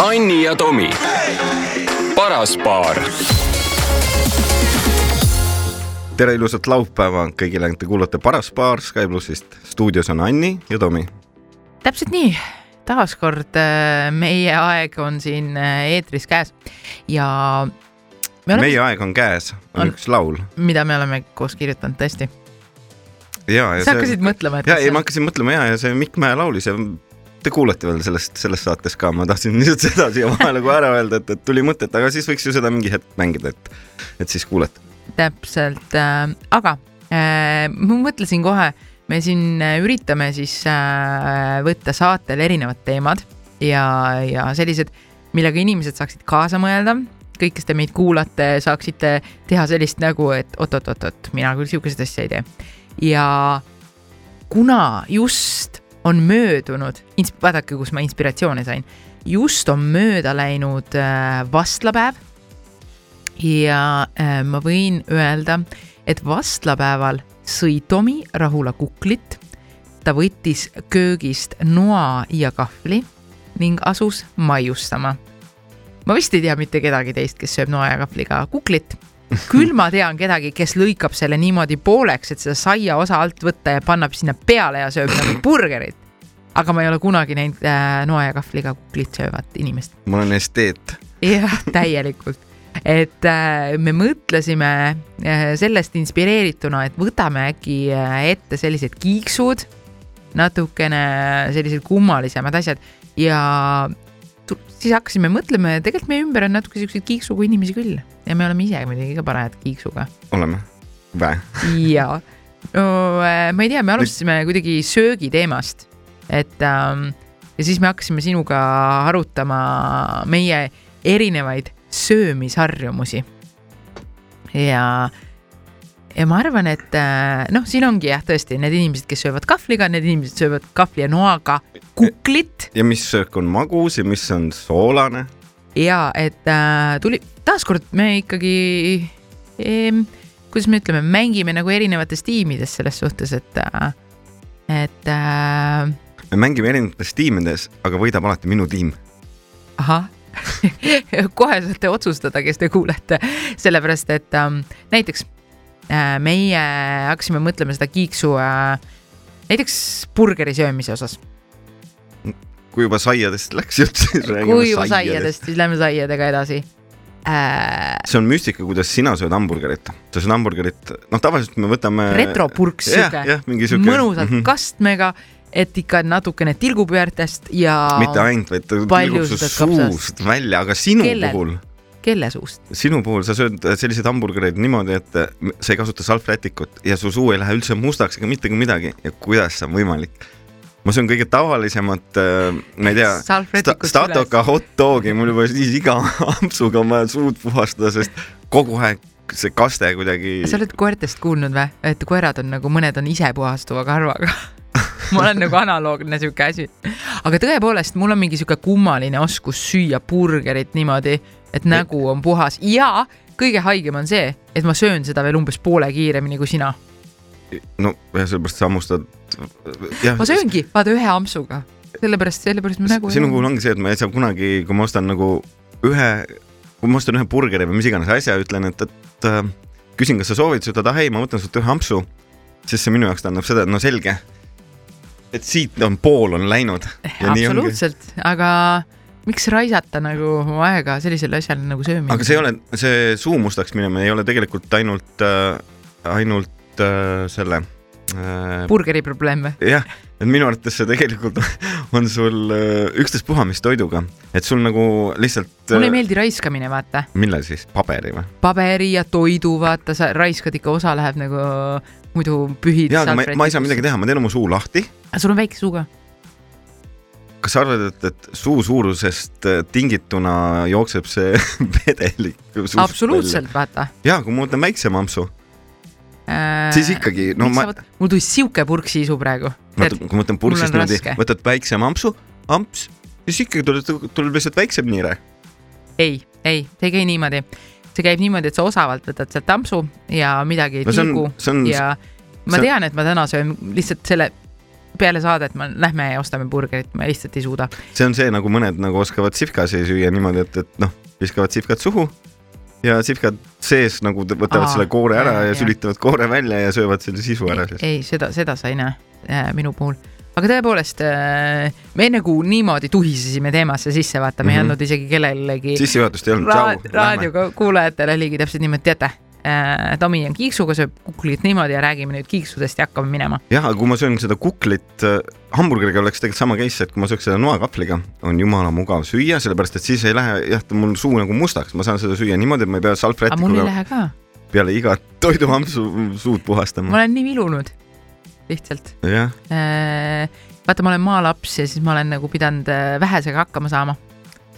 Anni ja Tomi , paras paar . tere , ilusat laupäeva kõigile , te kuulate Paras paar Sky plussist . stuudios on Anni ja Tomi . täpselt nii , taaskord äh, meie aeg on siin äh, eetris käes ja me oleme , meie aeg on käes , on On. üks laul . mida me oleme koos kirjutanud tõesti . ja , ja sa hakkasid mõtlema , et ja , kas ei , ma see- hakkasin mõtlema ja , ja see Mikk Mäe laul ise , te kuulete veel sellest , selles saates ka , ma tahtsin lihtsalt seda siia vahele kohe ära öelda , et , et tuli mõtet , aga siis võiks ju seda mingi hetk mängida , et , et siis kuulete . täpselt äh, , aga äh, ma mõtlesin kohe , me siin äh, üritame siis äh, võtta saatel erinevad teemad ja , ja sellised , millega inimesed saaksid kaasa mõelda kõik , kes te meid kuulate , saaksite teha sellist nägu , et oot-oot-oot-oot , mina küll sihukeseid asju ei tee . ja kuna just on möödunud , vaadake , kus ma inspiratsioone sain , just on mööda läinud äh, vastlapäev ja äh, ma võin öelda , et vastlapäeval sõi Tomi Rahula kuklit , ta võttis köögist noa ja kahvli ning asus maiustama . ma vist ei tea mitte kedagi teist , kes sööb noa ja kahvliga kuklit , küll ma tean kedagi , kes lõikab selle niimoodi pooleks , et seda saia osa alt võtta ja pannab sinna peale ja sööb nagu burgerit . aga ma ei ole kunagi näinud äh, noa ja kahvliga kuklit söövat inimest . ma olen esteet . jah , täielikult , et äh, me mõtlesime äh, sellest inspireerituna , et võtame äkki äh, ette sellised kiiksud , natukene äh, sellised kummalisemad asjad ja tu- siis hakkasime mõtlema ja tegelikult meie ümber on natuke siukseid kiiksuga inimesi küll ja me oleme ise muidugi ka parajad kiiksuga oleme või ? ja no äh, ma ei tea , me alustasime kuidagi söögi teemast , et ähm, ja siis me hakkasime sinuga arutama meie erinevaid söömisharjumusi . ja , ja ma arvan , et äh, noh , siin ongi jah , tõesti need inimesed , kes söövad kahvliga , need inimesed söövad kahvli ja noaga kuklit ja mis söök on magus ja mis on soolane ? ja et äh, tuli , taaskord me ikkagi ehm, , kuidas me ütleme , mängime nagu erinevates tiimides selles suhtes , et äh, , et äh, me mängime erinevates tiimides , aga võidab alati minu tiim . ahah , kohe saate otsustada , kes te kuulete , sellepärast et ähm, näiteks äh, meie hakkasime mõtlema seda kiiksu äh, näiteks burgeri söömise osas . kui juba saiadest läks jutt , siis räägime kui juba saiadest , siis lähme saiadega edasi äh, . see on müstika , kuidas sina sööd hamburgerit . sa sööd hamburgerit , noh , tavaliselt me võtame . retropurks jah , sihuke jah , mingi Mhm. siuke . mõnusalt mm -hmm. kastmega , et ikka natukene tilgub üärtest ja mitte ainult , vaid ta palju tilgub su seda kapsast. suust välja , aga sinu Kellel? puhul , kelle suust . sinu puhul sa sööd selliseid hamburgereid niimoodi , et sa ei kasuta salvrätikut ja su suu ei lähe üldse mustaks ega mitte kui midagi ja kuidas see on võimalik ? ma söön kõige tavalisemat , ma ei tea , Salvrätikut Statoka hot dogi , mul juba siis iga ampsuga on vaja suud puhastada , sest kogu aeg see kaste kuidagi sa oled koertest kuulnud või , et koerad on nagu , mõned on ise puhastuva karvaga . ma olen nagu analoogne sihuke asi . aga tõepoolest , mul on mingi sihuke kummaline oskus süüa burgerit niimoodi , et nägu on puhas ja kõige haigem on see , et ma söön seda veel umbes poole kiiremini kui sina . no ja sellepärast sa hammustad . jah ma , sööngi , vaata ühe ampsuga , sellepärast , sellepärast mu nägu . sinu puhul ongi see , et ma ei saa kunagi , kui ma ostan nagu ühe , kui ma ostan ühe burgeri või mis iganes asja , ütlen , et , et äh, küsin , kas sa soovid seda , et ah ei , ma võtan sult ühe ampsu , siis see minu jaoks tähendab seda , et no selge , et siit on pool on läinud . Eh, absoluutselt , aga miks raisata nagu aega sellisele asjale nagu söömine ? aga see ei ole , see suu mustaks minemine ei ole tegelikult ainult äh, , ainult äh, selle äh, burgeri probleem või ? jah , et minu arvates see tegelikult on sul äh, ükstaspuha mis toiduga , et sul nagu lihtsalt mulle ei meeldi raiskamine , vaata . millal siis , paberi või ? paberi ja toidu , vaata , sa raiskad ikka , osa läheb nagu muidu pühid . jaa , aga ma, ma ei saa midagi . teha , ma teen oma suu lahti . sul on väike suu ka ? kas sa arvad , et , et suu suurusest äh, tingituna jookseb see vedelik suust absoluutselt , vaata . välja ? jaa , kui ma võtan väiksema ampsu , siis . ikkagi , no ma , mul tuli sihuke purk sisu praegu . vaata , kui ma võtan purssist mul on niimoodi raske. , võtad väiksema ampsu , amps , siis ikkagi tuleb , tuleb lihtsalt väiksem niire . ei , ei , see ei käi niimoodi . see käib niimoodi , et sa osavalt võtad sealt ampsu ja midagi ei no see tilgu on , see on ja ma see- tean , et ma täna söön lihtsalt selle peale saadet ma , lähme ja ostame burgerit , ma lihtsalt ei suuda . see on see , nagu mõned nagu oskavad sivkasi süüa niimoodi , et , et noh , viskavad sivkad suhu ja sivkad sees nagu t- võtavad Aa, selle koore ära jah, ja, jah. ja sülitavad koore välja ja söövad selle sisu ära siis . ei , seda , seda sa ei näe äh, minu puhul . aga tõepoolest äh, , me nagu niimoodi tuhisesime teemasse sisse , vaata , me ei Mhm. andnud isegi kellelegi sissejuhatust ei Ra- olnud , tšau . raadiokuulajatele oligi täpselt niimoodi , teate äh, , Tomi on kiiksuga , sööb kuklit niimoodi ja räägime nüüd kiiksudest ja hakkame minema . jah , aga kui ma söön seda kuklit äh, hamburgeriga , oleks tegelikult sama case , et kui ma sööks seda noakahvliga , on jumala mugav süüa , sellepärast et siis ei lähe jah , mul suu nagu mustaks , ma saan seda süüa niimoodi , et ma ei pea aga mul ei salvrätikuga lähe ka , peale igat toiduampsu suud ma puhastama . olen nii vilunud , lihtsalt jah , äh, . vaata , ma olen maalaps ja siis ma olen nagu pidanud äh, vähesega hakkama saama .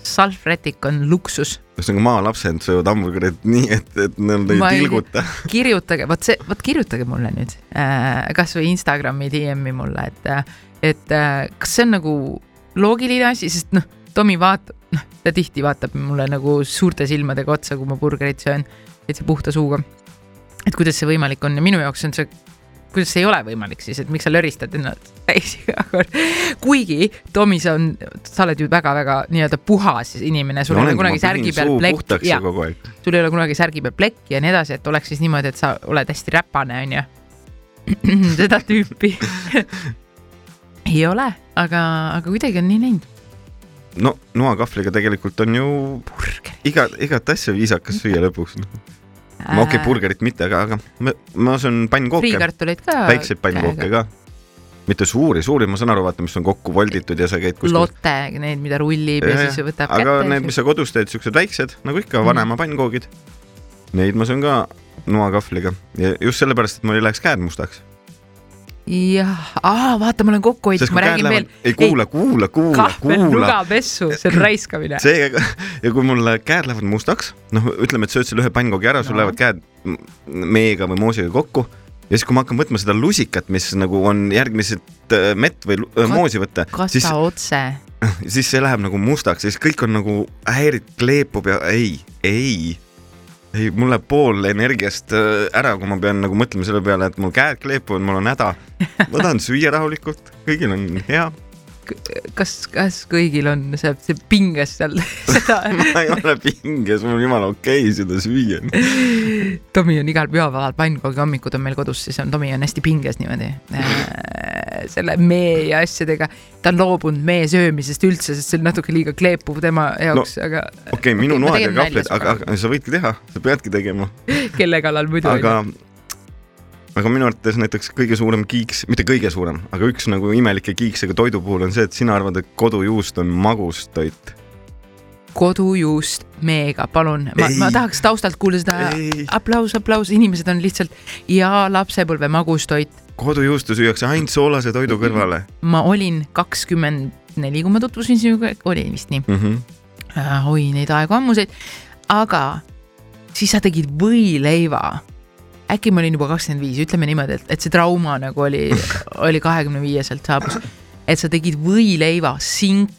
salvrätik on luksus , ühesõnaga maalapsed söövad hamburgerit nii , et , et neil Ma ei ei- tilguta . kirjutage , vot see , vot kirjutage mulle nüüd äh, kasvõi Instagrami DM-i mulle , et , et äh, kas see on nagu loogiline asi , sest noh , Tomi vaatab , noh , ta tihti vaatab mulle nagu suurte silmadega otsa , kui ma burgerit söön , täitsa puhta suuga . et kuidas see võimalik on ja minu jaoks on see , kuidas see ei ole võimalik siis , et miks sa löristad ennast täis iga kord . kuigi Tomi , sa on , sa oled ju väga-väga nii-öelda puhas inimene , sul ei ole kunagi särgi peal plekk puhtaks ju kogu aeg . sul ei ole kunagi särgi peal plekki ja nii edasi , et oleks siis niimoodi , et sa oled hästi räpane , onju . seda tüüpi ei ole , aga , aga kuidagi on nii läinud . no noakahvliga tegelikult on ju iga , igat asja viisakas süüa lõpuks . okei okay, , burgerit mitte , aga , aga ma, ma söön pannkooke , Äh, friikartuleid ka . väikseid pannkooke . ka . mitte suuri , suuri , ma saan aru , vaata , mis on kokku volditud ja sa käid kuskil . Lotte , need , mida rullib ja, ja siis võtab aga kätte . need , mis sa kodus teed , siuksed väiksed nagu ikka Mhm. vanema pannkoogid . Neid ma söön ka noakahvliga ja just sellepärast , et mul ei läheks käed mustaks . jah , aa , vaata , ma olen kokkuhoidlik , ma räägin veel . ei kuula , kuula , kuula , kuula kahvelnuga pessu , see on raiskamine . seega ja kui mul käed lähevad mustaks , noh , ütleme , et sööd selle ühe pannkoogi ära , sul No. lähevad käed m- meega või moosiga kokku ja siis , kui ma hakkan võtma seda lusikat , mis nagu on järgmised äh, mett või lu- äh, Kat- moosi võtta , siis kasta , otse . siis see läheb nagu mustaks ja siis kõik on nagu häirid kleepub ja ei , ei , ei , mul läheb pool energiast äh, ära , kui ma pean nagu mõtlema selle peale , et mul käed kleepuvad , mul on häda . ma tahan süüa rahulikult , kõigil on hea , kas , kas kõigil on see , see pinges seal seda ma ei ole pinges , mul on jumala okei okay seda süüa Tomi on igal pühapäeval pannkoogi hommikud on meil kodus , siis on Tomi on hästi pinges niimoodi äh, selle mee ja asjadega . ta on loobunud mee söömisest üldse , sest see on natuke liiga kleepuv tema jaoks no. , aga okei okay, , minu Okei, ma noad ja tegin nalja kahvlid , aga , aga sa võidki teha , sa peadki tegema , kelle kallal muidu aga , aga minu arvates näiteks kõige suurem kiiks , mitte kõige suurem , aga üks nagu imelikke kiiksega toidu puhul on see , et sina arvad , et kodujuust on magus toit . onju. kodujuust meega , palun , ma , Ei. ma tahaks taustalt kuulda seda Ei. aplaus , aplaus , inimesed on lihtsalt ja lapsepõlve magustoit . kodujuustu süüakse ainult soolase toidu kõrvale ma olin kakskümmend neli , kui ma tutvusin sinuga , oli vist nii . mm . -hmm. äh, oi neid aegu ammuseid , aga siis sa tegid võileiva . äkki ma olin juba kakskümmend viis , ütleme niimoodi , et , et see trauma nagu oli , oli kahekümne viieselt saabus . et sa tegid võileiva , sink ,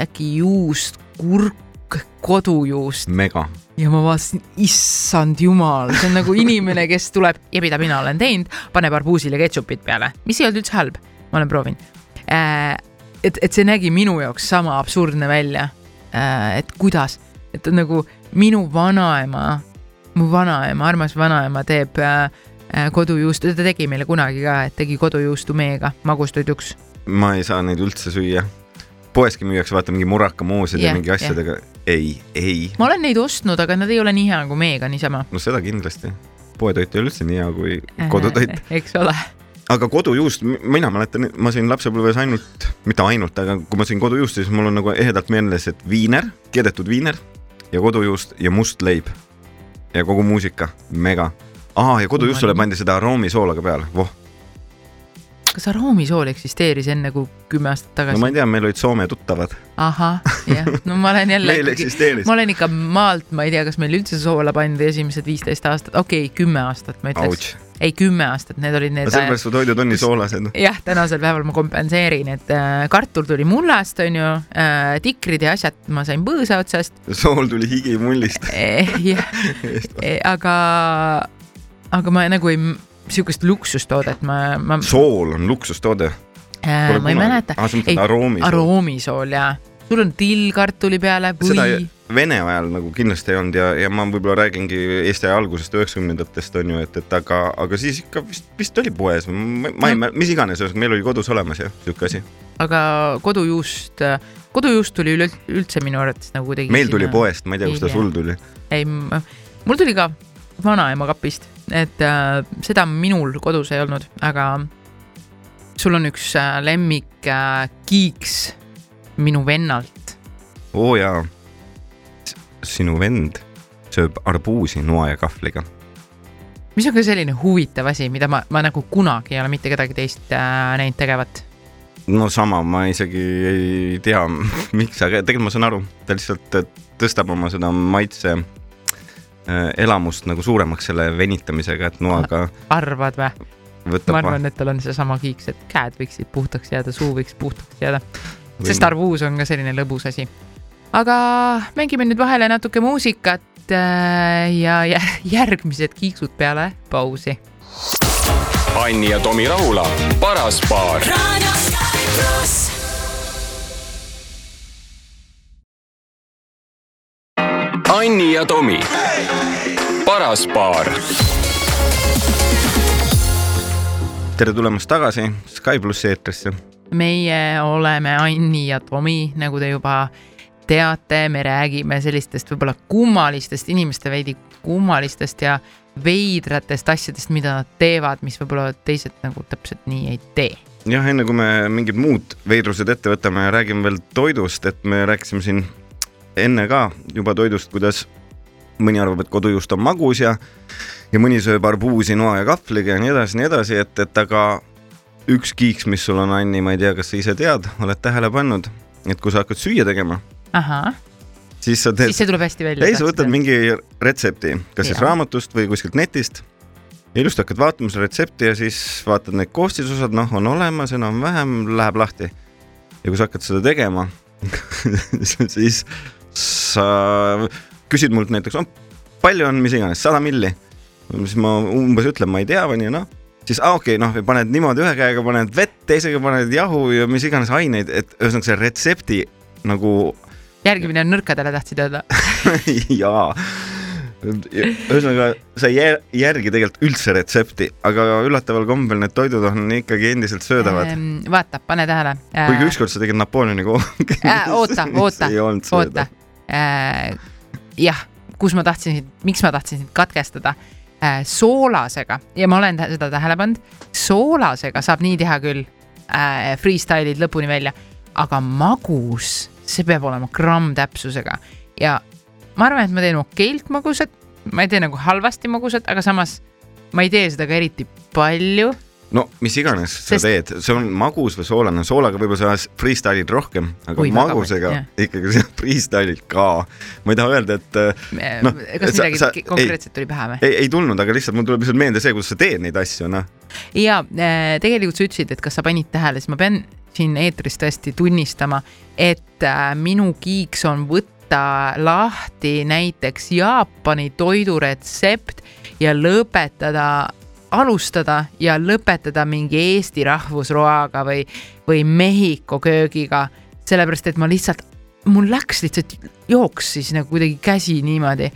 äkki juust , kurk , kodujuust mega . ja ma vaatasin , issand jumal , see on nagu inimene , kes tuleb ja mida mina olen teinud , paneb arbuusile ketšupit peale , mis ei olnud üldse halb , ma olen proovinud äh, . et , et see nägi minu jaoks sama absurdne välja äh, . et kuidas , et on nagu minu vanaema , mu vanaema , armas vanaema teeb äh, äh, kodujuustu , ta tegi meile kunagi ka , et tegi kodujuustu meega magustoiduks . ma ei saa neid üldse süüa . poeski müüakse vaata mingi murakamoosid ja Jah, mingi asjadega . ei , ei , ma olen neid ostnud , aga nad ei ole nii hea kui meega niisama . no seda kindlasti . poetoit ei ole üldse nii hea kui kodutoit . eks ole . aga kodujuust , mina mäletan , ma sõin lapsepõlves ainult , mitte ainult , aga kui ma sõin kodujuustu , siis mul on nagu ehedalt meeles , et viiner , keedetud viiner ja kodujuust ja must leib ja kogu muusika , mega . aa , ja kodujuustule pandi seda aroomisoolaga peale , voh . kas aroomisool eksisteeris enne kui kümme aastat no tagasi ma ? ei tea , meil olid Soome tuttavad , ahah , jah , no ma olen jälle meil ikkagi , eksisteeris ma . olen ikka maalt , ma ei tea , kas meil üldse soola pandi esimesed viisteist aastat , okei okay, , kümme aastat ma ütleks . Ouch , ei , kümme aastat , need olid need ajad . sellepärast su toidud on nii soolased . noh, jah , tänasel päeval ma kompenseerin , et äh, kartul tuli mullast , onju äh, , tikrid ja asjad ma sain põõsa otsast sool tuli higi mullist . eh, , jah , aga , aga Eh, ma nagu ei , sihukest luksustoodet ma, ma , sool on luksustoode . Äh, ma ei mäleta . aa , sa ei mõtled , aroomi sool . aroomisool jaa . sul on till kartuli peale seda või ? Vene ajal nagu kindlasti ei olnud ja , ja ma võib-olla räägingi Eesti aja algusest , üheksakümnendatest on ju , et , et aga , aga siis ikka vist , vist oli poes , ma ma ei No. mäleta , mis iganes , meil oli kodus olemas jah , sihuke asi . aga kodujuust , kodujuust tuli üleüldse minu arvates nagu kuidagi . meil tuli . poest , ma ei tea , kust ta Hilja. sul tuli . ei , mul tuli ka vanaema kapist , et äh, seda minul kodus ei olnud , aga sul on üks äh, lemmik äh, kiiks minu vennalt . oo jaa . sinu vend sööb arbuusi noa ja kahvliga . mis on ka selline huvitav asi , mida ma , ma nagu kunagi ei ole mitte kedagi teist äh, näinud tegevat . no sama , ma isegi ei tea , miks , aga tegelikult ma saan aru , ta lihtsalt tõstab oma seda maitse äh, elamust nagu suuremaks selle venitamisega , et noaga arvad või ? ma võtab arvan , et tal on seesama kiiks , et käed võiksid puhtaks jääda , suu võiks puhtaks jääda , Või- sest arvuus on ka selline lõbus asi . aga mängime nüüd vahele natuke muusikat äh, ja jä- järgmised kiiksud peale pausi . Anni ja Tomi Rahula , paras paar . Raadio Sky pluss . Anni ja Tomi , paras paar . tere tulemast tagasi Sky plussi eetrisse . meie oleme Anni ja Tomi , nagu te juba teate , me räägime sellistest võib-olla kummalistest inimeste veidi kummalistest ja veidratest asjadest , mida nad teevad , mis võib-olla teised nagu täpselt nii ei tee . jah , enne kui me mingid muud veidrused ette võtame , räägime veel toidust , et me rääkisime siin enne ka juba toidust , kuidas mõni arvab , et kodujuust on magus ja , ja mõni sööb arbuusi noa ja kahvliga ja nii edasi , nii edasi , et , et aga üks kiiks , mis sul on , Anni , ma ei tea , kas sa ise tead , oled tähele pannud , et kui sa hakkad süüa tegema , ahah , siis sa teed siis see tuleb hästi välja . ei , sa võtad mingi retsepti , kas siis Jaa. raamatust või kuskilt netist . ja ilusti hakkad vaatama seda retsepti ja siis vaatad need koostisosad , noh , on olemas , enam-vähem läheb lahti . ja kui sa hakkad seda tegema , siis sa küsid mult näiteks , palju on mis iganes , sada milli . siis ma umbes ütlen , ma ei tea , onju , noh siis ah, okei okay, , noh , paned niimoodi ühe käega paned vett , teisega paned jahu ja mis iganes aineid , et ühesõnaga see retsepti nagu järgimine on nõrkadele , tahtsid öelda ? jaa , ühesõnaga sa ei jär- järgi tegelikult üldse retsepti , aga üllataval kombel need toidud on ikkagi endiselt söödavad . Ehm, vaata , pane tähele . kuigi ükskord sa tegid Napoleoni kooki Äh, oota , oota , oota . jah , kus ma tahtsin sind , miks ma tahtsin sind katkestada äh, ? soolasega ja ma olen tä- seda tähele pannud , soolasega saab nii teha küll äh, , freestyle'id lõpuni välja , aga magus , see peab olema gramm täpsusega ja ma arvan , et ma teen okeilt magusat , ma ei tee nagu halvasti magusat , aga samas ma ei tee seda ka eriti palju no mis iganes sa Sest- teed , see on magus või soolane , soolaga võib-olla sa freestyle'id rohkem , aga Oi, Ui, väga magusega palju, ikkagi sa freestyle'id ka . ma ei taha öelda , et äh, no, Noh, . kas sa- midagi sa- sa, ei. konkreetset ei, tuli pähe või ? ei , ei tulnud , aga lihtsalt mul tuleb lihtsalt meelde see , kuidas sa teed neid asju , noh . ja äh, tegelikult sa ütlesid , et kas sa panid tähele , siis ma pean siin eetris tõesti tunnistama , et äh, minu kiiks on võtta lahti näiteks Jaapani toiduretsept ja lõpetada , alustada ja lõpetada mingi Eesti rahvusroaga või , või Mehhiko köögiga , sellepärast et ma lihtsalt , mul läks lihtsalt , jooksis nagu kuidagi käsi niimoodi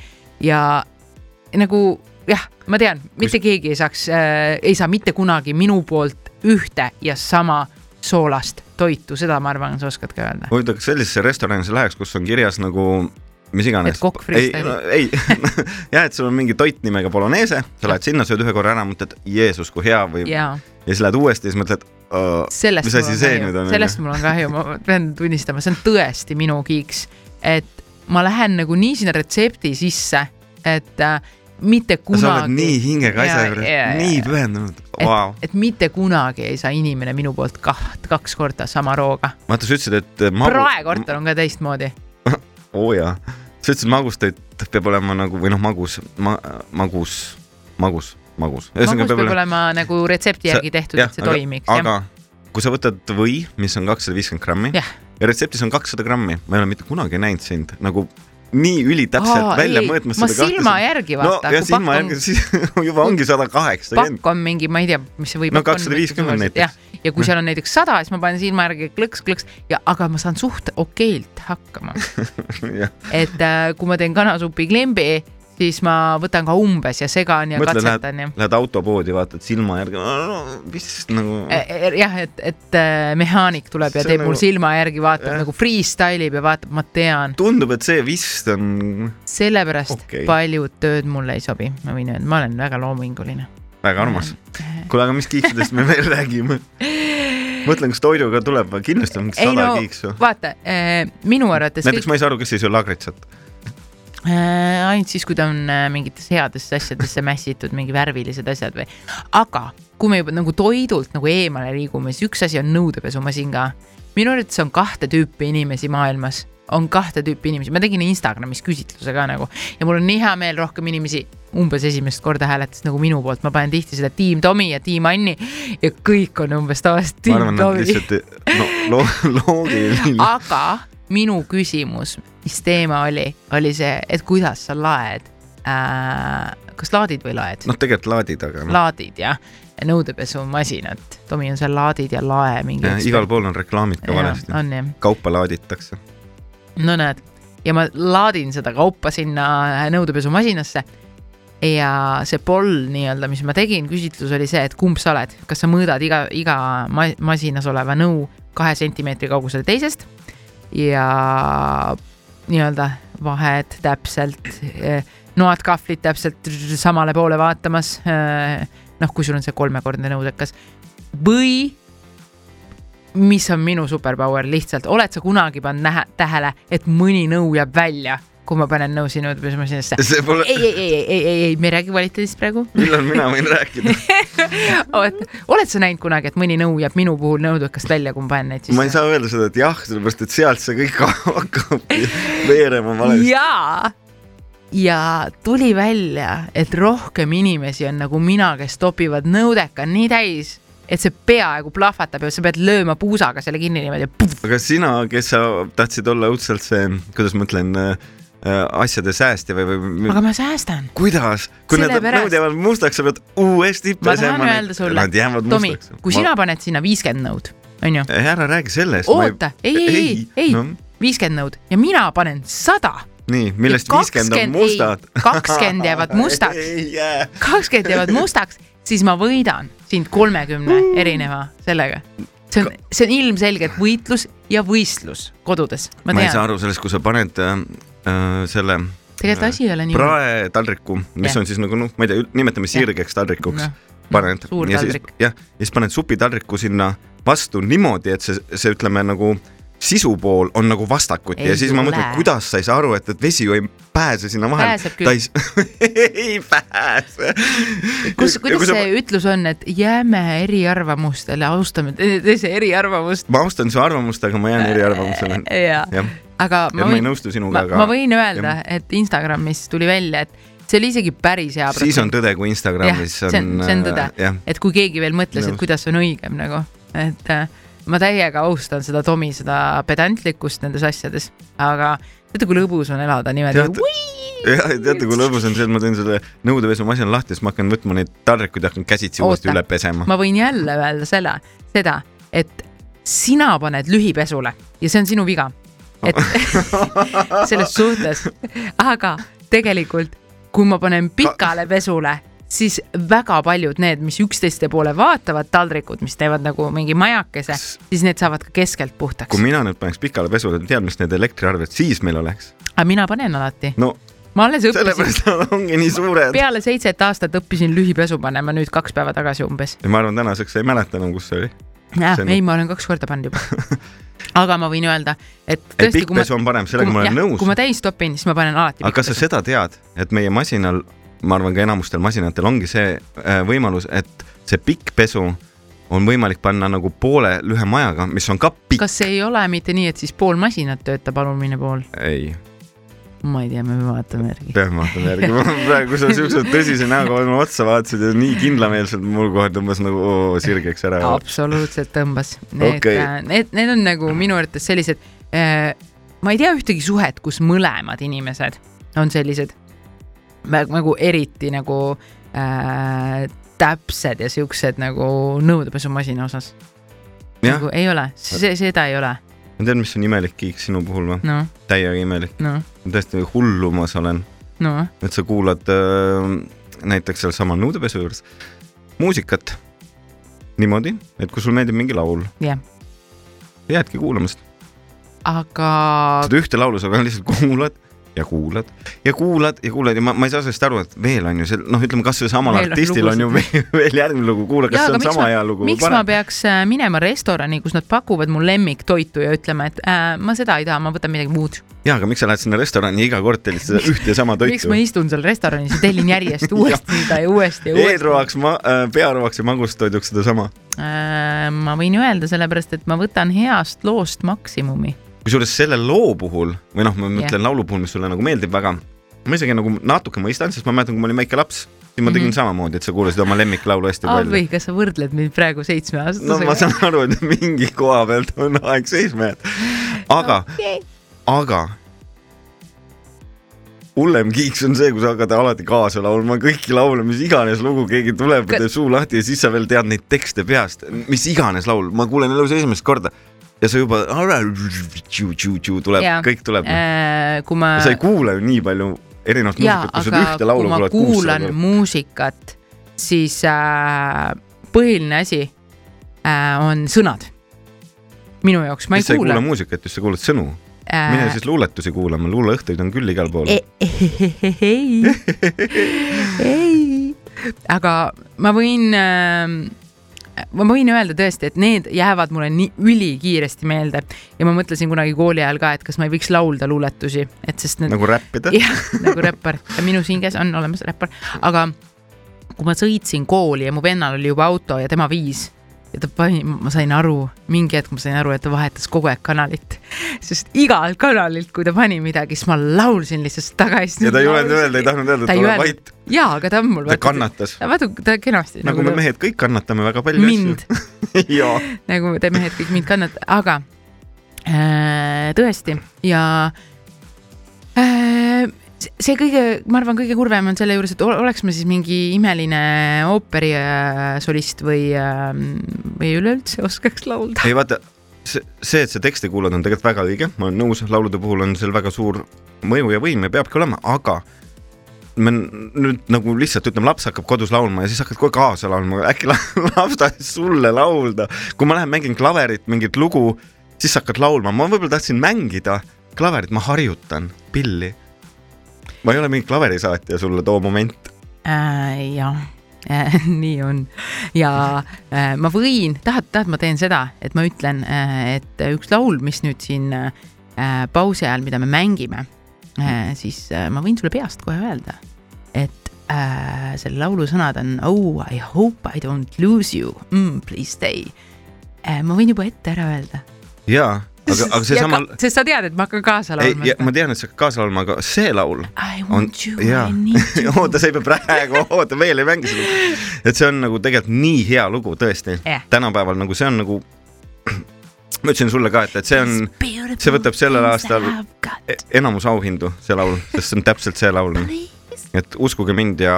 ja nagu jah , ma tean , mitte keegi ei saaks äh, , ei saa mitte kunagi minu poolt ühte ja sama soolast toitu , seda ma arvan , sa oskad ka öelda . huvitav , kas sellisesse restorani sa läheks , kus on kirjas nagu mis iganes Et kokk ? ei freestyle'ib. , ei jah , et sul on mingi toit nimega bolognese , sa lähed sinna , sööd ühe korra ära , mõtled , Jeesus , kui hea või ja, jaa , ja siis lähed uuesti ja siis mõtled , sellest mis mul asi on see nüüd kahju , on ? sellest mul on kahju , ma pean tunnistama , see on tõesti minu kiiks , et ma lähen nagu nii sinna retsepti sisse , et äh, mitte sa oled kunagi nii , hingega asja Jaa, juures jaa, , jaa. nii pühendunud , et, vau . et mitte kunagi ei saa inimene minu poolt kaht , kaks korda sama rooga . vaata , sa ütlesid , et magu- . praekorter on ka teistmoodi . oo jaa , sa ütlesid , magustoit peab olema nagu või noh , magus ma, , magus , magus , magus . magus peab olema nagu retsepti järgi tehtud , et see aga, toimiks . aga kui sa võtad või , mis on kakssada viiskümmend grammi Jah. ja retseptis on kakssada grammi , ma ei ole mitte kunagi näinud sind nagu nii ülitäpselt Aa, välja ei, mõõtmas ma silma järgi vaata, no ja kui silma pakk on- järgi , siis juba ongi sada kaheksakümmend . pakk on mingi , ma ei tea , mis see võib No 250 näiteks. . ja kui seal on näiteks sada , siis ma panen silma järgi klõks , klõks ja , aga ma saan suht okeilt hakkama . et äh, kui ma teen kanasupi klembi , siis ma võtan ka umbes ja segan ja mõtle , katsetan ja lähed , lähed autopoodi , vaatad silma järgi , mis nagu Eh, eh, jah , et , et äh, mehaanik tuleb ja See on teeb mul nagu- silma järgi , vaatab jah. nagu freestyle ib ja vaatab , ma tean , tundub , et see vist on sellepärast okay. Okei. paljud tööd mulle ei sobi , ma võin öelda , ma olen väga loominguline . väga armas . kuule , aga mis kiiksudest me veel räägime ? mõtlen , kas toiduga tuleb , kindlasti on ei sada no kiiksu . vaata , minu arvates näiteks kõik , ma ei saa aru , kes ei söö lagritset . äh, ainult siis , kui ta on äh, mingitesse headesse asjadesse mässitud , mingi värvilised asjad või , aga kui me juba nagu toidult nagu eemale liigume , siis üks asi on nõudepesumasin ka . minu arvates on kahte tüüpi inimesi maailmas , on kahte tüüpi inimesi , ma tegin Instagramis küsitluse ka nagu ja mul on nii hea meel , rohkem inimesi umbes esimest korda hääletas nagu minu poolt , ma panen tihti seda tiim Tomi ja tiim Anni ja kõik on umbes tavaliselt ma tiim arvan , et Tomi . lihtsalt no, lo loogiline . aga minu küsimus , mis teema oli , oli see , et kuidas sa laed äh, , kas laadid või laed no, ? noh , tegelikult laadid , aga no, laadid jah , nõudepesumasinat , Tomi on seal laadid ja lae mingi . igal pool on reklaamid ka valesti . on jah , kaupa laaditakse . no näed ja ma laadin seda kaupa sinna nõudepesumasinasse ja see poll nii-öelda , mis ma tegin , küsitlus oli see , et kumb sa oled , kas sa mõõdad iga , iga ma- masinas oleva nõu kahe sentimeetri kaugusel teisest ja nii-öelda vahed täpselt , noad , kahvlid täpselt samale poole vaatamas . noh , kui sul on see kolmekordne nõudekas või mis on minu superpower lihtsalt , oled sa kunagi pannud nähe- tähele , et mõni nõu jääb välja , kui ma panen nõu sinu pesumasinasse ? see pole , ei , ei , ei , ei , ei , ei , ei , me ei räägi kvaliteedist praegu . millal mina võin rääkida ? Oh, oled sa näinud kunagi , et mõni nõu jääb minu puhul nõudekast välja , kui ma panen neid ma ei sisse ? saa öelda seda , et jah , sellepärast et sealt see kõik hakkab veerema valesti . jaa , ja tuli välja , et rohkem inimesi on nagu mina , kes topivad nõudeka nii täis , et see peaaegu plahvatab ja sa pead lööma puusaga selle kinni niimoodi . aga sina , kes sa tahtsid olla õudselt see , kuidas ma ütlen , asjade säästja või , või aga ma säästan . kuidas , kui nad Sellepärast. nõud jäävad mustaks , sa pead uuesti ma tahan pesema öelda sulle Nad jäävad , Tomi mustaks ., kui sina paned sinna viiskümmend nõud , onju , ma... . ära räägi sellest . oota , ei , ei , ei , ei no, , viiskümmend nõud ja mina panen sada . nii , millest viiskümmend on mustad . kakskümmend jäävad mustaks , ei jää . kakskümmend jäävad mustaks , siis ma võidan sind kolmekümne erineva sellega . see on , see on ilmselgelt võitlus ja võistlus kodudes , ma ma ei saa tean . aru sellest , kui sa paned äh, äh, selle tegelikult asi ei ole nii . prae taldriku , mis Jah. on siis nagu noh , ma ei tea , nimetame sirgeks taldrikuks Jah. . paned Suur ja siis taldrik. , jah , ja siis paned supitaldriku sinna vastu niimoodi , et see , see ütleme nagu sisu pool on nagu vastakuti Ei ja siis ma mõtlen ole. , kuidas sa ei saa aru , et , et vesi ju ei pääse sinna vahele Pääseb . küll. ei pääse . kus , kuidas see ? ütlus on , et jääme eriarvamustele , austame teise eriarvamust ma austan su arvamust , aga ma jään eriarvamusele . ja , jah , aga ja ma ma ei võin nõustu sinuga , ma, aga ma võin öelda , et Instagramis tuli välja , et see oli isegi päris hea siis on tõde , kui Instagramis Jah, on . see on- see on tõde. jah , et kui keegi veel mõtles , et Nõus. kuidas on õigem nagu , et äh, ma täiega austan seda Tomi , seda pedantlikkust nendes asjades , aga teate , kui lõbus on elada niimoodi Teate- . ja teate , kui lõbus on see , et ma teen selle nõudepesumasina lahti , siis ma hakkan võtma neid taldrikuid ja hakkan käsitsi uuesti Oota. üle pesema . ma võin jälle öelda selle , seda , et sina paned lühipesule ja see on sinu viga . et selles suhtes , aga tegelikult , kui ma panen pikale pesule , siis väga paljud need , mis üksteiste poole vaatavad taldrikud , mis teevad nagu mingi majakese , siis need saavad ka keskelt puhtaks kui . mina nüüd paneks pikale pesule , tead , mis need elektriarved siis meil oleks ? aga mina panen alati , no ma alles õppisin , sellepärast nad ongi nii suured . peale seitset aastat õppisin lühipesu panema nüüd kaks päeva tagasi umbes . ja ma arvan , tänaseks sa ei mäleta enam , kus see oli . jah See , on- nagu- ei , ma olen kaks korda pannud juba . aga ma võin öelda , et ei , tõesti , pikk kui ma , pesu on parem , sellega ma olen nõus kui . ma täis topin , siis ma panen alati aga kas sa seda tead , et meie masinal , ma arvan , ka enamustel masinatel ongi see äh, võimalus , et see pikk pesu on võimalik panna nagu poole lühema ajaga , mis on ka pikk . kas ei ole mitte nii , et siis pool masinat töötab alumine pool ? ei , ma ei tea , me vaatame järgi . peame vaatama järgi . praegu , kui sa siukse tõsise näoga mulle otsa vaatasid ja nii kindlameelselt mul kohe tõmbas nagu oo, sirgeks ära . absoluutselt tõmbas . Need Okei. okay. , need , need on nagu minu arvates sellised äh, ma ei tea ühtegi suhet , kus mõlemad inimesed on sellised mä- nagu eriti nagu äh, täpsed ja siuksed nagu nõudepesumasina osas . jah , nagu ei ole , see , seda ei ole , ma tean , mis on imelik kiik sinu puhul või ? noh , täiega imelik , noh , täiesti hullumas olen , noh , et sa kuulad äh, näiteks sealsamal nõudepesu juures muusikat niimoodi , et kui sul meeldib mingi laul , jah , jäädki kuulama seda , aga seda ühte laulu sa ka lihtsalt kuulad ja kuulad ja kuulad ja kuulad ja ma , ma ei saa sellest aru , et veel on ju seal , noh , ütleme kasvõi samal Veel on artistil on ju veel, veel järgmine lugu , kuule , kas Jaa, ja, see on aga miks sama ma- hea lugu või miks ma parem . peaks äh, minema restorani , kus nad pakuvad mu lemmiktoitu ja ütlema , et äh, ma seda ei taha , ma võtan midagi muud . ja , aga miks sa lähed sinna restorani ja iga kord tellid seda ühte ja sama miks toitu ma ? istun seal restoranis ja tellin järjest uuesti seda ja uuesti ja uuesti ? eelroaks , ma , pearoaks ja magustoiduks sedasama . Äh, ma võin öelda , sellepärast et ma võtan heast loost maksimumi . kusjuures selle loo puhul või noh , ma mõtlen yeah. laulu puhul , mis sulle nagu meeldib väga , ma isegi nagu natuke mõistan , sest ma mäletan , kui ma olin väike laps , siis ma tegin mm Mhm. Ah, -hmm. samamoodi , et sa kuulasid oma lemmiklaulu hästi palju . Avi , kas sa võrdled mind praegu seitsmeaastasega no ma saan aru , et mingi koha pealt on aeg seisma jäänud , aga okay. ? aga hullem kiiks on see , kui sa hakkad alati kaasa laulma kõiki laule , mis iganes lugu keegi tuleb , Kõ- teeb suu lahti ja siis sa veel tead neid tekste peast , mis iganes laul , ma kuulen elus esimest korda ja sa juba tuleb Jaa. , kõik tuleb . Äh, kui ma ja sa ei kuule ju nii palju erinevat jaa , muusikat , kui sa aga ühte kui laulu ma kuulad kuussada kuulan . muusikat , siis äh, põhiline asi äh, on sõnad . minu jaoks , ma ei siis sa ei kuula Äh, kuula . muusikat , siis sa kuulad sõnu . mine siis luuletusi kuulama , luuleõhtuid on küll igal pool . ei , E- ei , ei , aga ma võin äh, , ma võin öelda tõesti , et need jäävad mulle nii ülikiiresti meelde ja ma mõtlesin kunagi kooli ajal ka , et kas ma ei võiks laulda luuletusi , et sest need nagu räppida . jah , nagu räppar , minus hinges on olemas räppar , aga kui ma sõitsin kooli ja mu vennal oli juba auto ja tema viis ja ta pani , ma sain aru , mingi hetk ma sain aru , et ta vahetas kogu aeg kanalit , sest igalt kanalilt , kui ta pani midagi , siis ma laulsin lihtsalt tagasi . ja ta ei julenud öelda , ei tahtnud öelda , Ta et ei ole öelnud. vait . jaa , aga ta on mul . ta . kannatas , vaata , ta kenasti . nagu me . mehed kõik kannatame väga palju mind , asju . jaa . nagu te mehed kõik mind kannate , aga äh, tõesti ja äh, see kõige , ma arvan , kõige kurvem on selle juures , et ole- oleks ma siis mingi imeline ooperisolist või , või üleüldse oskaks laulda . ei vaata , see , see , et sa tekste kuulad , on tegelikult väga õige , ma olen nõus , laulude puhul on seal väga suur mõju ja võim ja peabki olema , aga me n- nüüd nagu lihtsalt ütleme , laps hakkab kodus laulma ja siis hakkad kohe kaasa laulma , äkki la- laps tahtis sulle laulda . kui ma lähen mängin klaverit mingit lugu , siis sa hakkad laulma , ma võib-olla tahtsin mängida klaverit , ma harjutan pilli . ma ei ole mingi klaverisaatja sulle too moment , äh, . jah äh, , nii on ja äh, ma võin , tahad , tahad , ma teen seda , et ma ütlen äh, , et üks laul , mis nüüd siin äh, pausi ajal , mida me mängime äh, , siis äh, ma võin sulle peast kohe öelda , et äh, selle laulu sõnad on oh I hope I don't lose you mm, , please stay äh, . ma võin juba ette ära öelda . jaa , aga , aga seesama , sest sa tead , et ma hakkan kaasa ei , laulma . ma tean , et sa hakkad kaasa laulma , aga see laul I on- want you , jaa. I need you . oota , sa ei pea praegu , oota veel ei mängi seda . et see on nagu tegelikult nii hea lugu tõesti Jah. tänapäeval nagu see on nagu , ma ütlesin sulle ka , et , et see on , see võtab sellel aastal- enamus auhindu , see laul , sest see on täpselt see laul . et uskuge mind ja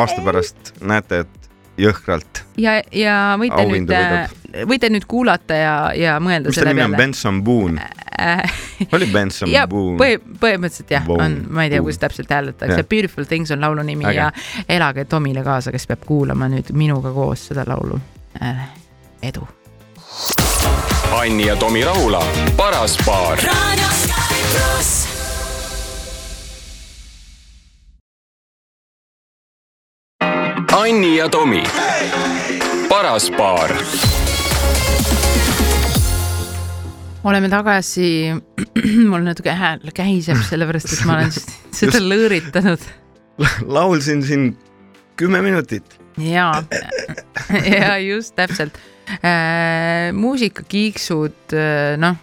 aasta pärast näete , et jõhkralt . ja , ja võite Auhindu nüüd , võite nüüd kuulata ja , ja mõelda mis ta selle nimi on , peale . Äh, Benson Boone , oli Benson ja Boone ? põhi- , põhimõtteliselt jah , Boone. on , ma ei tea , kuidas täpselt hääldatakse Jah. , Beautiful Things on laulu nimi Äge. ja elage Tomile kaasa , kes peab kuulama nüüd minuga koos seda laulu . edu . Anni ja Tomi Rahula , paras paar . Radio Sky Plus. Anni ja Tomi , paras paar . oleme tagasi , mul natuke hääl käiseb , sellepärast et ma olen s- seda Just. lõõritanud laulsin siin kümme minutit . ja , ja just täpselt äh, . muusikakiiksud äh, , noh ,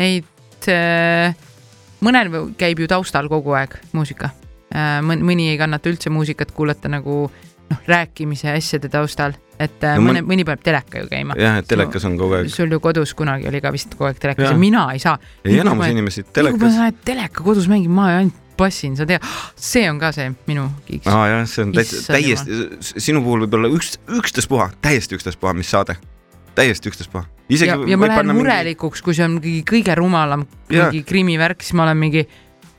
neid äh, , mõnel võ- käib ju taustal kogu aeg muusika äh, . mõni ei kannata üldse muusikat kuulata nagu noh , rääkimise ja asjade taustal et äh, No mõne , mõn- mõni paneb teleka ju käima . jah , et telekas on kogu aeg , sul ju kodus kunagi oli ka vist kogu aeg telekas ja, Jah. ja mina ei saa . ei enamus inimesi kui ma telekas , saan teleka kodus mängima , ma ainult passin , sa tead , see on ka see minu kiiks . aa jah , see on täitsa Issand täiesti , sinu puhul võib-olla üks , ükstaspuha , täiesti ükstaspuha , mis saade , täiesti ükstaspuha . isegi ja , ja ma lähen murelikuks mingi... , kui see on mingi kõige rumalam Jaa. mingi krimivärk , siis ma olen mingi ,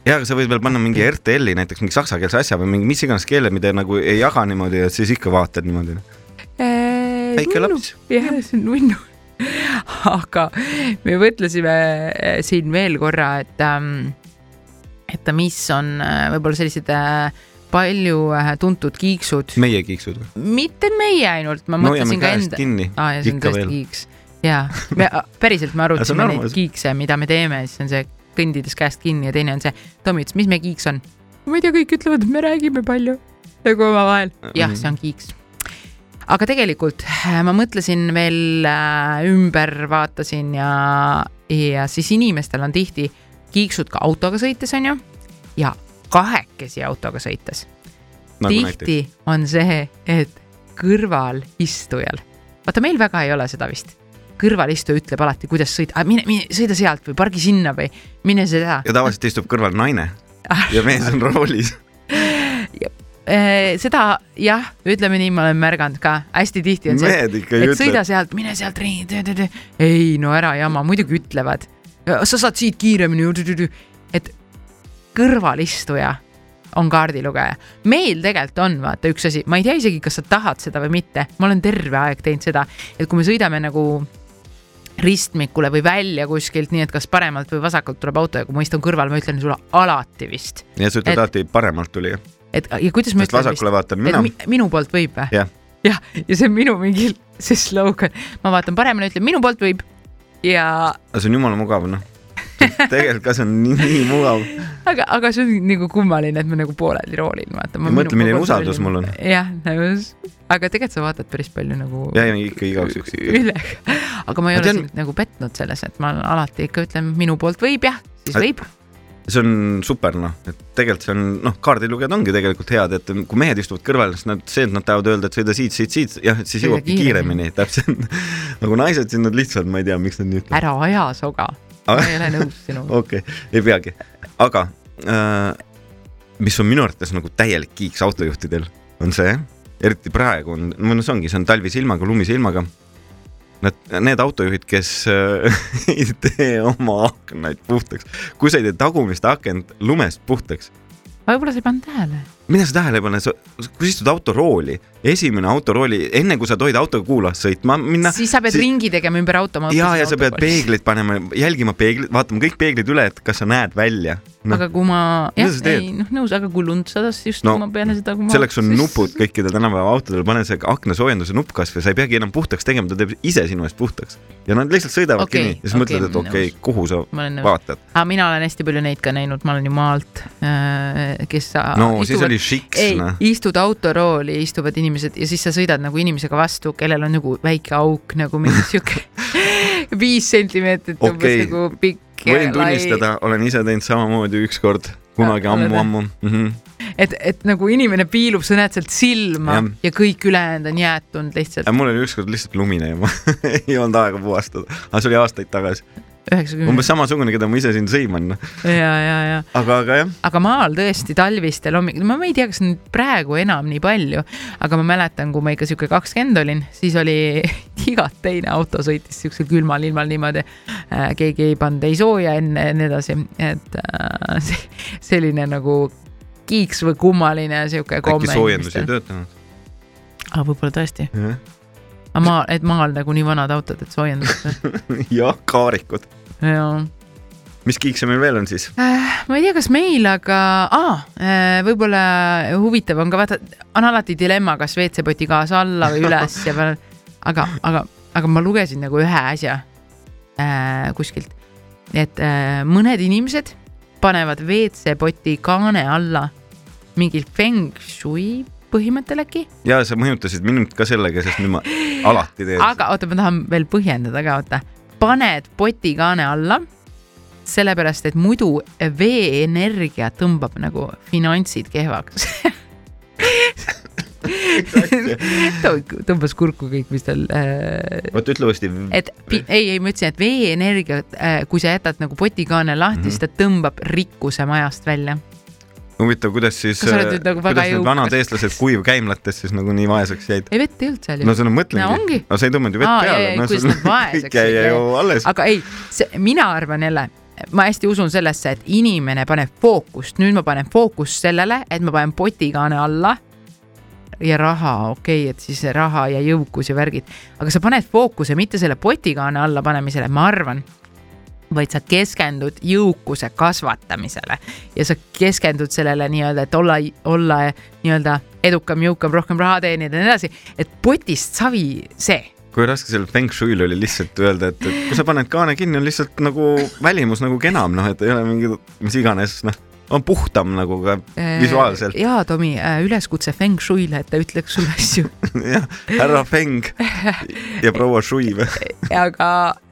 ja aga sa võid veel panna mingi RTL-i näiteks mingi saksakeelse asja või mingi mis iganes keele , mida nagu ei jaga niimoodi ja siis ikka vaatad niimoodi . väike . laps . jah , see on nunnu . aga me mõtlesime äh, siin veel korra , et ähm, , et mis on äh, võib-olla sellised äh, palju äh, tuntud kiiksud , meie kiiksud või ? mitte meie ainult , ma me hoiame mõtlesin ka käest enda . kinni aa , ja see on ikka tõesti veel. kiiks . jaa , me a- päriselt me see on arutasime neid normaalne. kiikse , mida me teeme , siis on see kõndides käest kinni ja teine on see , Tomi ütles , mis meie kiiks on ? ma ei tea , kõik ütlevad , et me räägime palju nagu omavahel . jah , see Mm. on kiiks . aga tegelikult äh, ma mõtlesin veel äh, ümber , vaatasin ja , ja siis inimestel on tihti kiiksud ka autoga sõites onju ja kahekesi autoga sõites nagu näiteks . tihti on see , et kõrvalistujal , vaata meil väga ei ole seda vist , kõrvalistuja ütleb alati , kuidas sõita , mine , mine sõida sealt või pargi sinna või mine seda . ja tavaliselt istub kõrval naine ja mees on roolis . Äh, seda jah , ütleme nii , ma olen märganud ka hästi tihti on see , mehed ikka et ei et sõida ütle . sealt , mine sealt ringi , ei no ära jama , muidugi ütlevad , sa saad siit kiiremini , et kõrvalistuja on kaardilugeja . meil tegelikult on vaata üks asi , ma ei tea isegi , kas sa tahad seda või mitte , ma olen terve aeg teinud seda , et kui me sõidame nagu ristmikule või välja kuskilt , nii et kas paremalt või vasakult tuleb auto ja kui ma istun kõrval , ma ütlen sulle alati vist , ja sa et- ütled alati paremalt tuli , et ja kuidas ma sest ütlen vist , vasakule vaatan et mina . mi, minu poolt võib või ? jah , jah , ja see on minu mingi see slogan , ma vaatan paremini , ütlen minu poolt võib ja aga see on jumala mugav noh . tegelikult ka see on nii, nii mugav . aga , aga see on nagu kummaline , et ma nagu pooleldi roolin , vaata . Ja mõtle, milline usaldus mul on. jah , nõus , aga tegelikult sa vaatad päris palju nagu ja , ja ikka igaks juhuks . üle , aga ma ei Ma ole tean- sind nagu petnud selles , et ma alati ikka ütlen , minu poolt võib jah , siis Aga- võib , see on super noh , et tegelikult see on noh , kaardilugejad ongi tegelikult head , et kui mehed istuvad kõrval , siis nad , see , et nad tahavad öelda , et sõida siit , siit , siit , jah , et siis Sõida jõuabki kiiremini. kiiremini, kiiremini , täpselt . nagu naised , siis nad lihtsalt , ma ei tea , miks nad nii ütlevad . ära aja soga , ma ei ole nõus sinuga . okei okay, , ei peagi , aga äh, mis on minu arvates nagu täielik kiiks autojuhtidel , on see , eriti praegu on , no see ongi , see on talvise ilmaga , lumise ilmaga . Nad , need autojuhid , kes äh, ei tee oma aknaid puhtaks , kui sa ei tee tagumist akent lumest puhtaks , võib-olla sa ei pannud tähele . mida sa tähele ei pane , sa , kui sa istud autorooli , esimene autorooli , enne kui sa tohid autoga kuula sõitma minna . siis sa pead si ringi tegema ümber auto . Noh, ja , ja sa pead . peeglid panema , jälgima peeglid , vaatama kõik peeglid üle , et kas sa näed välja no. aga kui ma , Noh. jah Mida sa , teed? ei noh , nõus , aga kui lund sadas , just no, No, ma pean seda . selleks on nupud . kõikidel tänapäeva autodel , pane see aknasoojenduse nupp kasvõi , sa ei peagi enam puhtaks tegema , ta teeb ise sinu eest puhtaks ja nad lihtsalt sõidavadki Okei, okay, nii ja siis okay, okei, mõtled , et nõus. okei okay, , kuhu sa ma olen nõus . vaatad . aga mina olen hästi palju neid ka näinud , ma olen ju maalt , kes sa no siis oli šiks , ei noh ,. istud autorooli , istuvad inimesed ja siis sa sõidad nagu inimesega vastu , kellel on nagu väike auk nagu mingi sihuke viis sentimeetrit umbes Okei. nagu pikk . võin tunnistada , olen ise teinud samamoodi ükskord , kunagi Ah, oled või? ammu-ammu mm . -hmm. et , et nagu inimene piilub , sa näed sealt silma ja, Jah. ja kõik ülejäänud on jäätunud lihtsalt aga mul oli ükskord lihtsalt lumine ja ma ei olnud aega puhastada , aga see oli aastaid tagasi , umbes üheksakümne . samasugune , keda ma ise siin sõiman , noh , ja , ja , ja aga , aga jah , aga maal tõesti talvistel hommikul , ma ma ei tea , kas nüüd praegu enam nii palju , aga ma mäletan , kui ma ikka sihuke kakskümmend olin , siis oli igat teine auto sõitis siuksel külmal ilmal niimoodi . keegi ei pannud ei sooja enne ja nii edasi , et äh, see- selline nagu kiiks või kummaline sihuke komme äkki soojendus ei inimestel . töötanud . aga võib-olla tõesti , aga maal , et maal nagu nii vanad autod , et soojendus . jah , kaarikud , jaa mis kiikse meil veel on siis ? Äh, ma ei tea , kas meil , aga ah, äh, võib-olla huvitav on ka vaata , on alati dilemma , kas WC-poti kaasa alla või üles ja peal , aga , aga , aga ma lugesin nagu ühe asja äh, kuskilt , et äh, mõned inimesed panevad WC-poti kaane alla mingi feng shui põhimõttel äkki , ja sa mõjutasid mind ka sellega , sest nüüd ma alati teen . aga oota , ma tahan veel põhjendada ka , oota , paned poti kaane alla sellepärast , et muidu veeenergia tõmbab nagu finantsid kehvaks . ta tõmbas kurku kõik , mis tal äh, , vot ütle uuesti . et pi- ei , ei ma ütlesin , et veeenergiat äh, , kui sa jätad nagu potikaane lahti mm , -hmm. siis ta tõmbab rikkuse majast välja . huvitav , kuidas siis , Kas sa oled nüüd nagu väga kuidas need jõukas? vanad eestlased kuivkäimlates siis nagu nii vaeseks jäid ? ei vett ei olnud seal ju no seda No ongi. mõtlengi . no sa ei tõmmanud ju vett Aa, jaa, peale jaa, . kuidas nad vaeseks kõik jäi jäid, ju alles . aga ei , mina arvan jälle , ma hästi usun sellesse , et inimene paneb fookust , nüüd ma panen fookust sellele , et ma panen potikaane alla ja raha , okei okay, , et siis see raha ja jõukus ja värgid , aga sa paned fookuse mitte selle potikaane alla panemisele , ma arvan , vaid sa keskendud jõukuse kasvatamisele ja sa keskendud sellele nii-öelda , et olla , olla nii-öelda edukam , jõukam , rohkem raha teenida ja nii edasi , et potist savi see kui raske sellel feng shui'l oli lihtsalt öelda , et , et kui sa paned kaane kinni , on lihtsalt nagu välimus nagu kenam , noh , et ei ole mingi mis iganes , noh , on puhtam nagu ka Äh, visuaalselt . jaa , Tomi , üleskutse Feng Shui'le , et ta ütleks sulle asju , jah , härra Feng ja proua Shui või ? aga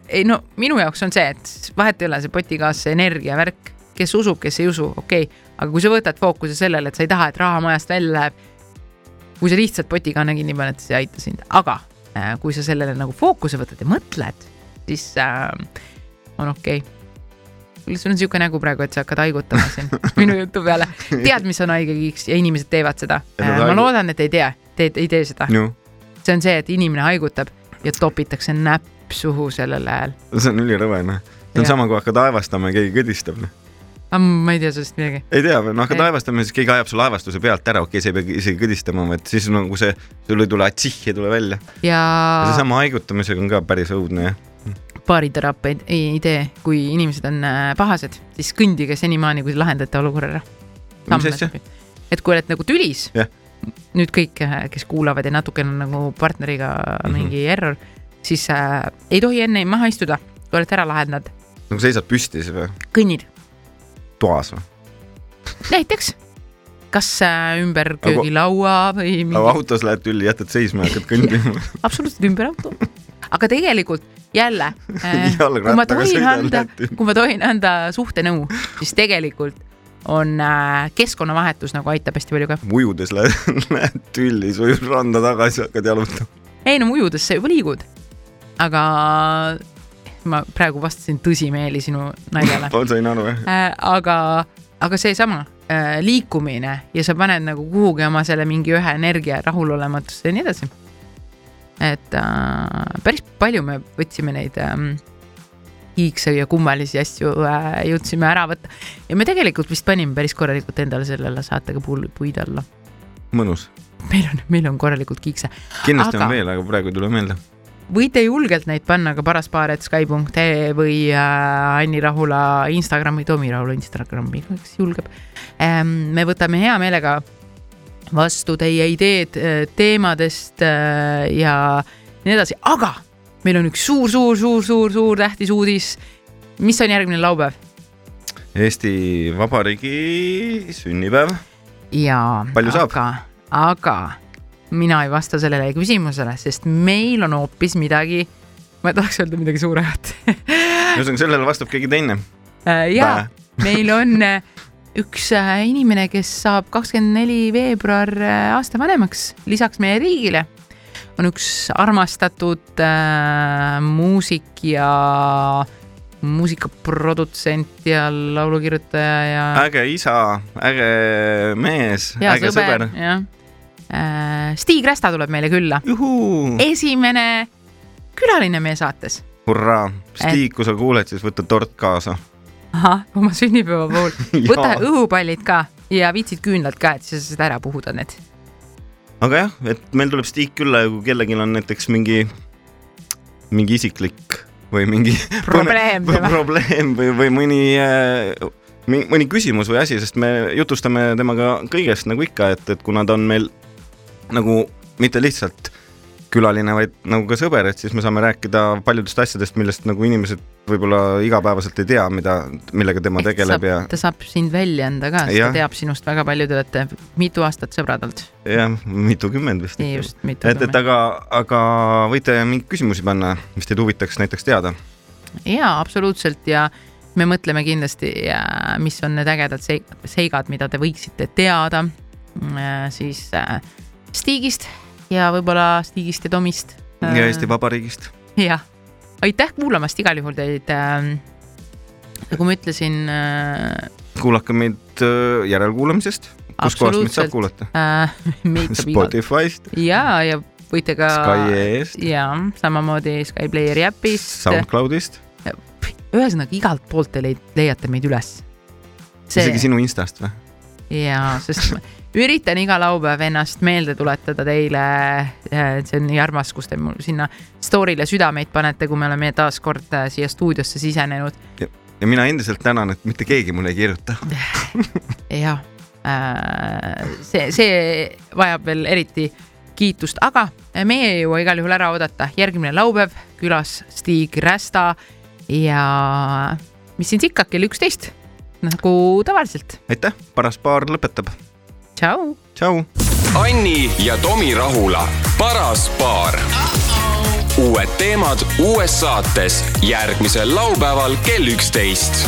ei no minu jaoks on see , et vahet ei ole see potikaas , see energiavärk , kes usub , kes ei usu , okei okay. , aga kui sa võtad fookuse sellele , et sa ei taha , et raha majast välja läheb , kui sa lihtsalt potikaane kinni paned , siis ei aita sind , aga äh, kui sa sellele nagu fookuse võtad ja mõtled , siis äh, on okei okay. kuule , sul on siuke nägu praegu , et sa hakkad haigutama siin minu jutu peale . tead , mis on haige kiiks ja inimesed teevad seda . Ja nad ma haigu- loodan , et ei tea , te ei tee seda . jah , see on see , et inimene haigutab ja topitakse näpp suhu sellel ajal . see on ülirõve , noh . see on Jah. sama , kui hakkad aevastama ja keegi kõdistab , noh . aga ma ei tea sellest midagi . ei tea , noh , hakkad Ei. aevastama , siis keegi ajab su laevastuse pealt ära , okei okay, , sa ei pea isegi kõdistama , vaid siis nagu see , sul ei tule atsih , ei tule välja . ja seesama haigutamisega on ka päris õudne , jah . baariteraapiaid ei, ei tee , kui inimesed on äh, pahased , siis kõndige senimaani , kui te lahendate olukorra ära . mis asja ? et kui oled nagu tülis Jah. , nüüd kõik , kes kuulavad ja natukene on nagu partneriga Mhm. mm -hmm. mingi error , siis äh, ei tohi enne maha istuda , kui oled ära lahendanud , nagu seisad püsti siis või ? kõnnid toas või ? näiteks , kas äh, ümber köögilaua või mingi aga autos lähed tülli , jätad seisma ja hakkad kõndima . absoluutselt ümber auto . aga tegelikult jälle äh, , kui Jalgrattaga ma tohin sõidan anda lätti. , kui ma tohin anda suhtenõu , siis tegelikult on äh, keskkonnavahetus nagu aitab hästi palju ka . ujudes lähed, lähed tülli , sa ujud randa tagasi , hakkad jalutama . ei no ujudes sa juba liigud . aga ma praegu vastasin tõsimeeli sinu naljale . sain aru jah ? äh, . aga , aga seesama äh, liikumine ja sa paned nagu kuhugi oma selle mingi ühe energia rahulolematusse ja nii edasi . et äh, päris palju me võtsime neid ähm, hiigse ja kummalisi asju äh, , jõudsime ära võtta ja me tegelikult vist panime päris korralikult endale sellele saatega puul- puid alla . mõnus . meil on , meil on korralikult kiikse , kindlasti aga... Aga- on veel , aga praegu ei tule meelde . võite julgelt neid panna ka paraspaar.sky.ee või äh, Anni Rahula Instagrami , Tomi Rahula Instagrami , kes julgeb ähm, . me võtame hea meelega vastu teie ideed äh, teemadest äh, ja nii edasi , aga meil on üks suur-suur-suur-suur-suur tähtis uudis . mis on järgmine laupäev Eesti Vabariigi sünnipäev . ja . Palju saab? aga , aga mina ei vasta sellele küsimusele , sest meil on hoopis midagi , ma tahaks öelda midagi suuremat ühesõnaga , sellele vastab keegi teine . Äh, jaa , meil on äh, üks äh, inimene , kes saab kakskümmend neli veebruar äh, aasta vanemaks , lisaks meie riigile on üks armastatud äh, muusik ja muusikaprodutsent ja laulukirjutaja ja äge isa , äge mees , hea äge sõber, Mm. sõber. . jah . Stig Rästa tuleb meile külla , juhuu , esimene külaline meie saates . hurraa . Stig , kui sa kuuled , siis võta tort kaasa . ahah , oma sünnipäeva puhul , võta Jaa. õhupallid ka ja viitsid küünlad ka , et sa saad ära puhuda need . aga jah , et meil tuleb Stig külla ja kui kellelgi on näiteks mingi , mingi isiklik või mingi Probleem või tema. probleem või , või mõni , mõni küsimus või asi , sest me jutustame temaga kõigest nagu ikka , et , et kuna ta on meil nagu mitte lihtsalt külaline , vaid nagu ka sõber , et siis me saame rääkida paljudest asjadest , millest nagu inimesed võib-olla igapäevaselt ei tea , mida , millega tema tegeleb ja , ta saab sind välja anda ka , sest ta Jah. teab sinust väga palju , te olete mitu aastat sõbrad olnud . ja mitukümmend vist . nii just , mitu et , et . aga , aga võite mingeid küsimusi panna , mis teid huvitaks näiteks teada . jaa , absoluutselt ja me mõtleme kindlasti , mis on need ägedad seig- seigad , mida te võiksite teada . siis äh, Stigist ja võib-olla Stigist ja Tomist . ja Eesti . Vabariigist . jah , aitäh kuulamast igal juhul teid ähm, . nagu ma ütlesin äh, , kuulake meid äh, järelkuulamisest , kuskohast meid saab kuulata . äh, meid saab igal , Spotify'st , ja , ja võite ka . Sky.ee-st , ja samamoodi Sky Playeri äpist . SoundCloudist , ühesõnaga igalt poolt te leid, leiate meid üles . isegi sinu Instast või ? jaa , sest ma üritan iga laupäev ennast meelde tuletada teile . see on nii armas , kus te mul sinna story'le südameid panete , kui me oleme taas kord äh, siia stuudiosse sisenenud . ja mina endiselt tänan , et mitte keegi mulle ei kirjuta . jah , see , see vajab veel eriti kiitust , aga meie ei jõua igal juhul ära oodata . järgmine laupäev külas Stig Rästa ja mis siin sikka , kell üksteist nagu tavaliselt . aitäh , paras paar lõpetab , tšau . tšau . Anni ja Tomi Rahula , paras paar . uued teemad uues saates järgmisel laupäeval kell üksteist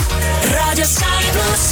Radio Sky Plus